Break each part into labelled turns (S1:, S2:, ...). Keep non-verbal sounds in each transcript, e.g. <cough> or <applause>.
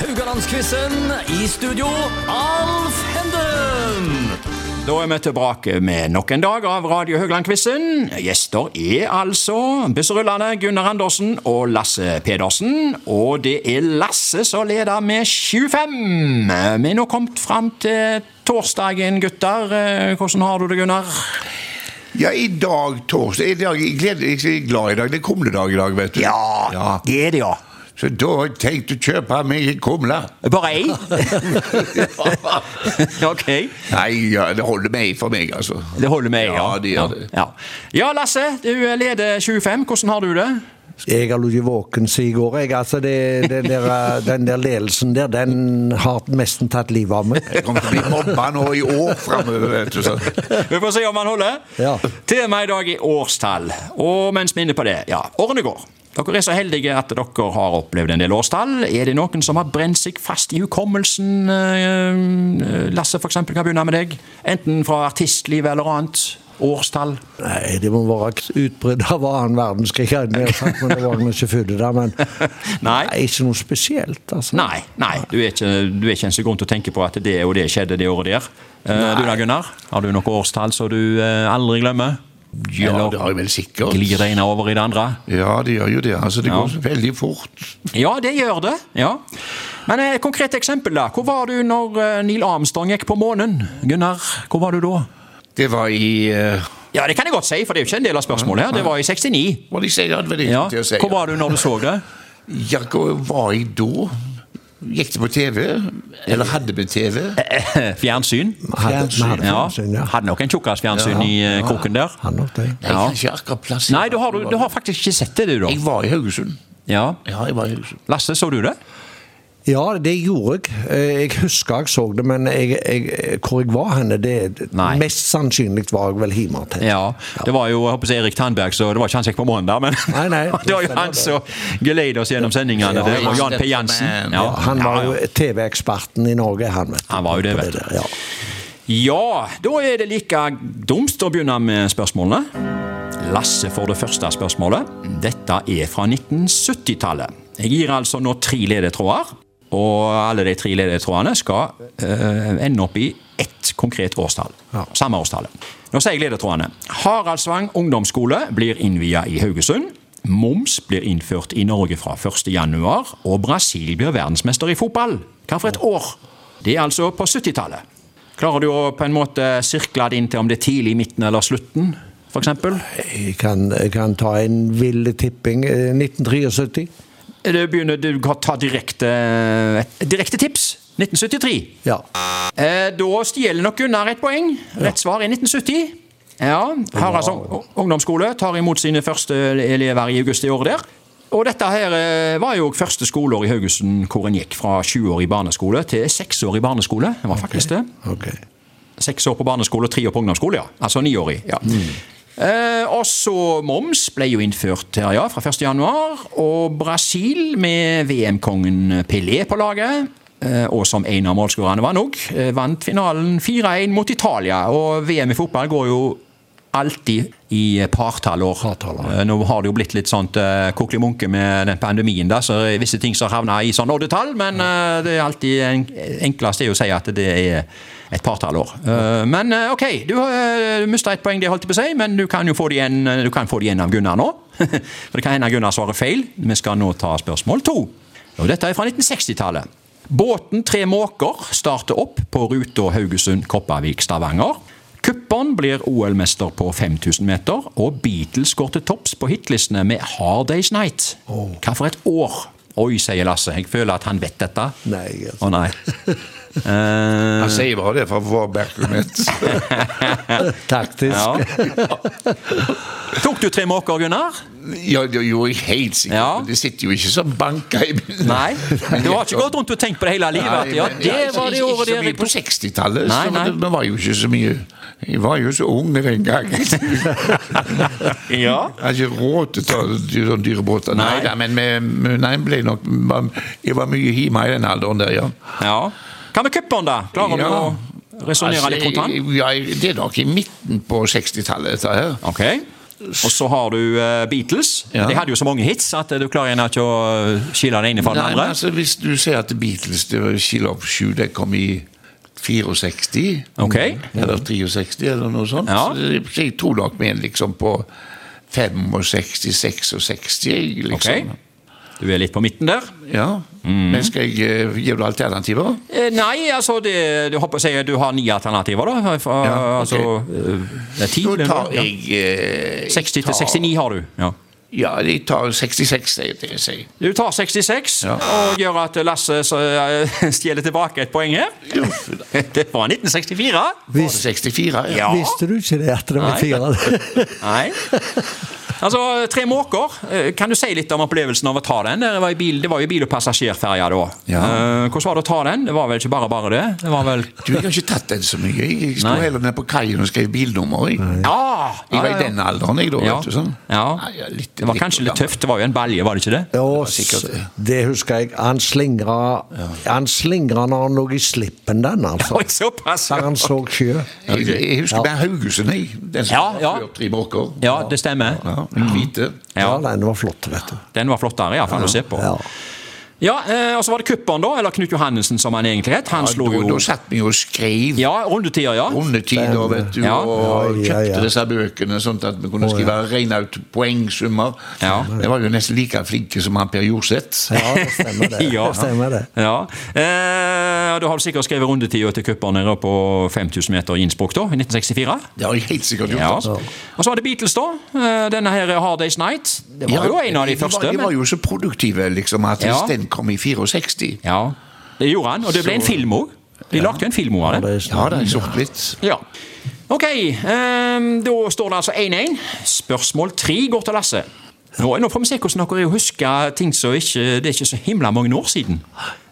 S1: Haugalandsquizen. I studio, Alf Henden.
S2: Da er vi tilbake med nok en dag av Radio Haugland-quizen. Gjester er altså busserullene Gunnar Andersen og Lasse Pedersen. Og det er Lasse som leder med 7-5. Vi er nå kommet fram til torsdagen, gutter. Eh, Hvordan har du det, Gunnar?
S3: Ja, i dag, torsdag I dag, jeg gleder meg jeg er glad i dag. Det er kumledag i dag, vet du.
S2: det er det, ja.
S3: Så da har jeg tenkt å kjøpe meg en kumle.
S2: Bare ei? <laughs> ok.
S3: Nei, ja, det holder meg for meg, altså.
S2: Det holder med ei,
S3: Ja, det gjør det.
S2: Ja. ja, Lasse. Du leder 7-5. Hvordan har du det?
S4: Jeg har ligget våken siden i går. Jeg, altså det, det der, den der ledelsen der, den har nesten tatt livet av meg.
S3: Jeg kommer til å bli mobba nå i år framover, vet du.
S2: <laughs>
S3: Så.
S2: Vi får se om han holder.
S4: Ja.
S2: Temaet i dag er årstall. Og mens vi er inne på det, ja, årene går. Dere er så heldige at dere har opplevd en del årstall. Er det noen som har brent seg fast i hukommelsen? Eh, Lasse, for eksempel, kan begynne med deg. Enten fra artistlivet eller annet. Årstall.
S4: Nei, det må være et utbrudd av annen verdenskrig. hadde jeg nær sagt, Men det var jeg ikke født da, men
S2: Nei.
S4: ikke noe spesielt, altså.
S2: Nei, nei, du er ikke, du er ikke en sekund til å tenke på at det og det skjedde det året der. Eh, Du da, Gunnar? Har du noe årstall som du eh, aldri glemmer?
S3: Ja,
S2: Eller
S3: det har jeg vel sikkert.
S2: Glir det ene over i det andre?
S3: Ja, det gjør jo det. Altså, det
S2: Ja.
S3: går så veldig fort.
S2: Ja, det gjør det. ja. Men eh, et konkret eksempel, da. Hvor var du når eh, Neil Armstrong gikk på månen? Gunnar, hvor var du da?
S3: Det var i eh,
S2: Ja, det kan jeg godt si, for det er jo ikke en del av spørsmålet. her. Det var i 69.
S3: Hva de sier, hadde vel ikke
S2: Ja.
S3: til å si.
S2: Hvor var du når du så det?
S3: Ja, hvor var jeg da? Gikk det på TV? Eller hadde vi TV?
S2: <laughs> Fjernsyn?
S4: Hadde- vi hadde
S2: Ja.
S4: fjernsyn, ja.
S2: Hadde nok en tjukkasfjernsyn i eh, kroken der.
S4: Han nok det.
S3: Jeg kan ikke akkurat plassere
S2: Nei, du har, du, du har faktisk ikke sett det, du, da.
S3: Jeg var i Haugesund.
S2: Ja.
S3: Ja, jeg var i Haugesund.
S2: Lasse, så du det?
S4: Ja, det gjorde jeg. Eh, Jeg husker jeg så det, men jeg, jeg, hvor jeg var henne, det
S2: Nei.
S4: Mest sannsynlig var jeg vel hjemme. tenker jeg.
S2: Ja. Det var jo jeg håper å si Erik Tandberg, så det var ikke han som gikk på månen der, men
S4: Nei, nei.
S2: <laughs> det var jo han som geleida oss gjennom sendingene. Det var Jan P. Jansen. Ja.
S4: Han
S2: Ja,
S4: var
S2: ja.
S4: jo TV-eksperten i Norge, han, vet du.
S2: Han var jo det,
S4: På
S2: vet du.
S4: der, Ja.
S2: Ja, da er det like dumt å begynne med spørsmålene. Lasse får det første spørsmålet. Dette er fra 1970-tallet. Jeg gir altså nå tre ledetråder, og alle de tre ledetrådene skal eh, ende opp i ett konkret årstall. Samme årstallet. Nå sier jeg ledetrådene. Haraldsvang ungdomsskole blir innvia i Haugesund. Moms blir innført i Norge fra 1. januar, og Brasil blir verdensmester i fotball. Hva for et år? Det er altså på 70-tallet. Klarer du å på en måte sirkle det inn til om det er tidlig, midten eller slutten, f.eks.?
S4: Jeg kan, jeg kan ta en vill tipping. eh, 1973.
S2: Du Eh, begynner du kan ta direkte, eh, et direkte tips. 1973.
S4: Ja.
S2: Eh, da stjeler nok Gunnar et poeng. Rett svar er 1970. Ja, Haraldsson ungdomsskole tar imot sine første elever i august i året der. Og dette her eh, var jo første skoleår i Haugesund hvor en gikk fra 20 år i barneskole til 6 år i barneskole. Det var faktisk det.
S4: Ok.
S2: Seks år på barneskole og tre år på ungdomsskole, ja. Altså niårig. Ja. Eh, og så moms ble jo innført her, ja, fra 1. januar. Og Brasil med VM-kongen Pelé på laget. eh, Og som en av målskårerne var nok, eh, vant finalen 4-1 mot Italia. Og VM i fotball går jo alltid i partallår. Eh, Nå har det jo blitt litt sånt eh, kokelig munke med den pandemien, da, så er visse ting som havner i sånn oddetall, men eh, det er alltid en, enklest er jo å si at det er et partallår. Eh, men eh, OK, du uh, mista ett poeng, det holdt jeg på å si, men du kan jo få det igjen, eh, du kan få det igjen av Gunnar nå. <laughs> For det kan hende Gunnar svarer feil. Vi skal nå ta spørsmål to. Og dette er fra 1960-tallet. Båten Tre måker starter opp på ruta Haugesund-Kopervik-Stavanger. Kuppern blir OL-mester på 5000 meter, og Beatles går til topps på hitlistene med Hard Day's Night. Hva for et år? Oi, sier Lasse. Jeg føler at han vet dette.
S4: Nei, altså. jeg-
S2: Å nei. Eh,
S3: Han sier bare det for å få backroomhet.
S4: Taktisk.
S2: ja. Tok du tre måker, Gunnar?
S3: <laughs> Ja, det gjorde jeg helt sikkert.
S2: Ja.
S3: Men det sitter jo ikke som banker i bildet.
S2: Nei. Du har ikke gått rundt og tenkt på det hele livet? at, ja, det var det året
S3: der
S2: der
S3: På 60-tallet
S2: Nei,
S3: så
S2: nei.
S3: var det- det var jo ikke så mye Jeg var jo så ung
S2: <laughs>
S3: den gangen.
S2: Ja.
S3: Jeg hadde ikke råd til å ta dy- sånne dyre båter.
S2: Nei.
S3: Nei, da, men vi- vi- nei, jeg ble nok Jeg var mye hjemme i den alderen der, ja.
S2: ja. Hva med Kuppern, da? Klarer du
S3: Ja. Altså,
S2: å resonnere litt rundt han?
S3: jeg- ja, jeg- det er nok i midten på 60-tallet, dette her.
S2: Ok. Og så har du eh, Beatles.
S3: Ja.
S2: De hadde jo så mange hits at eh, du klarer gjerne ikke å eh, skille den ene fra den
S3: Nei, men
S2: andre.
S3: altså, hvis du ser at Beatles det var Kill Up 7 det kom i 64
S2: Ok.
S3: Eller 63 eller noe sånt.
S2: Ja.
S3: Så det- så jeg tror nok vi er liksom på 65-66, jeg,
S2: Ok. Mm.
S3: liksom.
S2: Du er litt på midten der.
S3: Ja. Men skal jeg eh, gi deg alternativer?
S2: Eh, Nei, altså det, Du håper å si at du har ni alternativer, da. Fra,
S3: Ja, ok.
S2: altså, eh, det er ti,
S3: Da
S2: det er
S3: tar
S2: noe, ja.
S3: jeg eh,
S2: 60
S3: tar-
S2: til 69 har du. Ja.
S3: Ja, jeg tar 66, sier jeg. til å si.
S2: Du tar 66
S3: Ja.
S2: og gjør at Lasse så, eh, <laughs> stjeler tilbake et poeng her. <laughs>
S3: Jo, for da-
S2: Det var 1964.
S3: Var det 64?
S2: Ja.
S4: Visste du ikke det at det var
S2: Nei. <laughs>
S4: fire?
S2: Nei. Altså, Tre måker. Eh, Kan du si litt om opplevelsen av å ta den? Det var, i bil, det var jo bil- og passasjerferja da.
S3: Ja.
S2: Eh, hvordan var det å ta den? Det var vel ikke bare bare det? Det var vel
S3: Du, jeg har ikke tatt den så mye. Jeg Jeg sto
S2: Nei.
S3: heller nede på kaien og skrev bilnummer. Jeg,
S2: Ja!
S3: jeg var
S2: ja,
S3: i den alderen, jeg, da.
S2: ja.
S3: Vet du, sånn.
S2: Ja.
S3: Nei, jeg er litt-
S2: Det var kanskje litt tøft. Det var jo en balje, var det ikke det?
S4: Jo,
S3: var sikkert det.
S4: det husker jeg. Han slingra Han slingra når han lå i slippen, den, altså.
S2: Oi, såpass!
S4: Der han så sjø.
S3: Jeg, jeg husker
S4: Ja.
S3: det er Haugesund, jeg. Den som
S2: Ja,
S3: har
S2: ja.
S3: ført tre måker.
S2: Ja, det stemmer.
S3: Ja, den hvite.
S4: Ja,
S2: Ja,
S4: den var flott, vet du.
S2: Den var flottere, iallfall, å se på.
S4: Ja.
S2: Ja, eh, Og så var det Kupperen, da. Eller Knut Johannessen, som han egentlig het. Han
S3: Ja,
S2: slo
S3: da,
S2: jo
S3: da satt vi og skrev
S2: Ja, rundetider, ja.
S3: rundetider, vet du,
S2: Ja.
S3: og
S4: Ja, ja, ja.
S3: kjøpte disse bøkene sånn at vi kunne skrive rene ut poengsummer.
S2: Ja.
S3: Jeg var jo nesten like flinke som han Per Jorseth.
S4: ja, det stemmer
S2: <laughs>
S4: det.
S2: Ja.
S4: det, stemmer det.
S2: Ja. Eh, og da har du sikkert skrevet rundetida til Kupperen nede på 5000 meter i Innsbruck, da, i 1964.
S3: Det har jeg helt sikkert gjort.
S2: Ja.
S3: altså.
S2: Og så var det Beatles, da. Eh, Denne her Hard Days Night. Det var
S3: Ja,
S2: jo en av de
S3: var-
S2: første.
S3: De var
S2: Men...
S3: jo så produktive, liksom, at
S2: Ja.
S3: hvis den kom i 64
S2: Ja, det gjorde han. Og det ble en film òg. De lagde jo en film òg av det.
S4: Det er
S3: Ja,
S4: snart.
S3: det er sort litt.
S2: Ja. Ok, ehm, da står det altså 1-1. Spørsmål 3 går til Lasse. Nå, nå får vi se hvordan dere husker ting som ikke Det er ikke så himla mange år siden.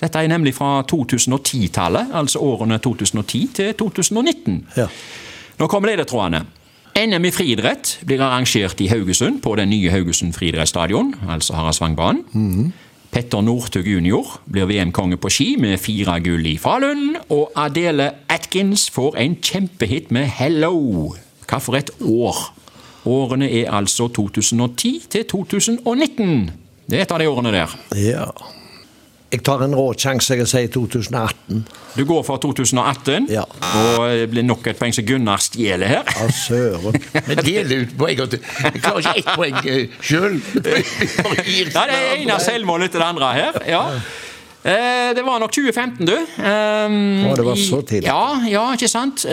S2: Dette er nemlig fra 2010-tallet, altså årene 2010 til 2019.
S4: Ja.
S2: Nå kommer ledetrådene. NM i friidrett blir arrangert i Haugesund på den nye Haugesund friidrettsstadion, altså Haraldsvangbanen. Petter Northug jr. blir VM-konge på ski med fire gull i Falun. Og Adele Atkins får en kjempehit med 'Hello'. Hva for et år? Årene er altså 2010 til 2019. Det er et av de årene der.
S4: Ja. Jeg tar en råsjanse, jeg sier 2018.
S2: Du går for 2018,
S4: Ja.
S2: og det blir nok et poeng som Gunnar stjeler her.
S4: Ja, søren.
S3: Men deler ut poeng og Jeg klarer ikke ett poeng eh, <laughs> sjøl.
S2: Ja, det er ene selvmålet til det andre her. Ja. Eh, det var nok 2015, du. Um,
S4: Å, det var så tidlig.
S2: Ja, ja ikke sant? Eh,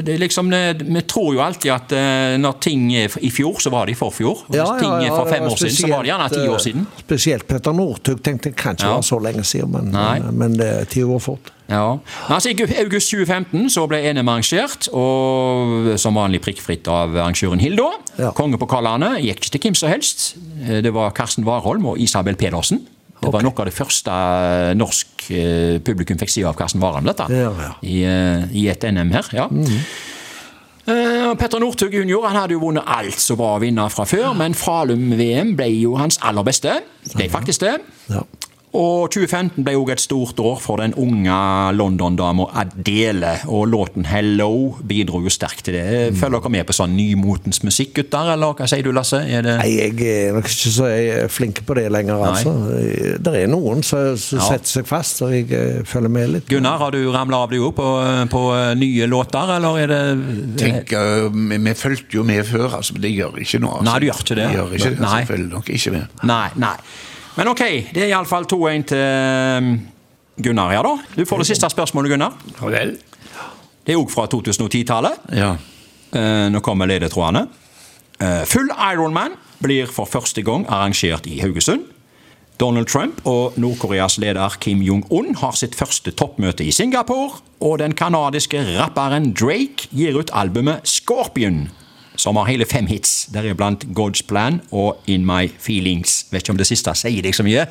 S2: det er liksom, det, vi tror jo alltid at eh, når ting er f- i fjor, så var det i forfjor. Og Hvis ting er for
S4: det
S2: fem
S4: var
S2: år siden, så var det gjerne ti
S4: spesielt,
S2: år siden.
S4: eh, Spesielt Petter Northug. Tenkte jeg kanskje
S2: Ja.
S4: var så lenge siden, men,
S2: Nei.
S4: men, men det er ti år fort.
S2: Ja. Altså, I gu- august 2015 så ble NM arrangert, og som vanlig prikkfritt av arrangøren Hilda.
S4: Ja.
S2: Kongepokalene gikk ikke til hvem som helst. Eh, Det var Karsten Warholm og Isabel Pedersen. Det var noe av det første eh, norsk eh, publikum fikk se av Karsten Warholm, dette.
S4: Ja, ja. Mhm.
S2: I, eh, I et NM her. ja. Eh, Petter Northug jr. han hadde jo vunnet alt som var å vinne fra før, men Falum-VM ble jo hans aller beste. Ble faktisk det.
S4: Ja.
S2: Og 2015 ble òg et stort år for den unge London-dama Adele. Og låten 'Hello' bidro jo sterkt til det. Følger dere med på sånn nymotens musikk, gutter? Eller hva sier du, Lasse? Er det
S4: Nei, jeg er nok ikke så flink på det lenger, altså. Det er noen som som
S2: Ja.
S4: setter seg fast, og jeg eh, følger med litt.
S2: Gunnar, har du ramla av deg òg på, på nye låter, eller er det
S3: Tenk, eh, vi, vi fulgte jo med før, altså, men det gjør ikke noe. Altså.
S2: Nei, du gjør ikke det.
S3: Vi gjør ikke det,
S2: Nei.
S3: så følger nok ikke med.
S2: Nei, nei. Men ok, det er iallfall 2-1 til um, Gunnar her, da. Du får det siste spørsmålet, Gunnar.
S3: Ja vel?
S2: Det er òg fra 2010-tallet.
S3: Ja.
S2: Eh, nå kommer ledetrådene. Eh, full Ironman blir for første gang arrangert i Haugesund. Donald Trump og Nord-Koreas leder Kim Jong-un har sitt første toppmøte i Singapore. Og den kanadiske rapperen Drake gir ut albumet Scorpion, som har hele fem hits, deriblant God's Plan og In My Feelings. Vet ikke om det siste sier deg så mye?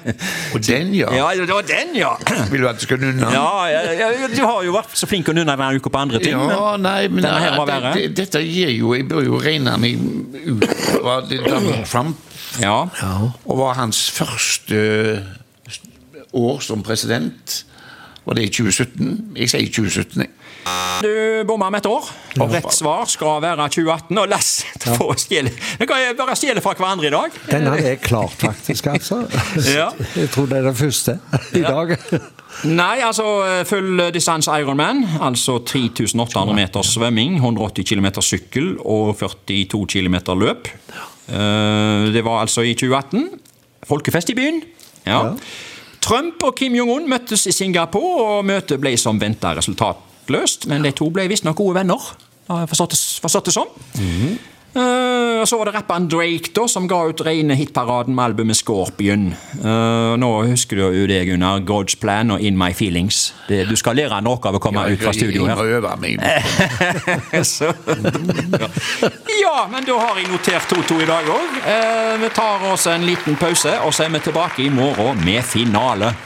S3: Og den,
S2: <laughs>
S3: ja.
S2: Ja, det var den, ja!
S3: Vil du at du skal nunne?
S2: Ja, jeg, jeg, Du har jo vært så flink å nunne hver uke på andre ting.
S3: Ja,
S2: men
S3: nei, men
S2: denne her var
S3: det-
S2: verre.
S3: det- dette gir jo Jeg bør jo regne meg ut hva det Donald Trump
S2: Ja.
S3: Og var hans første år som eh, president. Var det i 2017? Jeg sier 2017, jeg.
S2: Du bomma med et år, og rett svar skal være 2018. Og Lass <laughs> få stjele. Vi kan bare stjele fra hverandre i dag.
S4: Den hadde jeg klart, faktisk, altså.
S2: <laughs> Ja.
S4: Jeg tror det er den første i dag.
S2: Nei, altså full distance Ironman. Altså 3800 meter svømming, 180 km sykkel og 42 km løp. Eh, Det var altså i 2018. Folkefest i byen. Ja. Trump og Kim Jong-un møttes i Singapore, og møtet ble som venta resultatløst. Men de to ble visstnok gode venner, har jeg forstått det, forstått det som. Eh, og så var det rapperen Drake da, som ga ut rene hitparaden med albumet Scorpion. Eh, nå husker du jo det, Gunnar. God's Plan og In My Feelings. Det, du skal lære noe av å komme ut fra studio
S3: Jeg
S2: her.
S3: <laughs> må øve meg.
S2: Så- <laughs> ja. ja, men da har jeg notert 2-2 i dag òg. Eh, vi tar oss en liten pause, og så er vi tilbake i morgen med finale.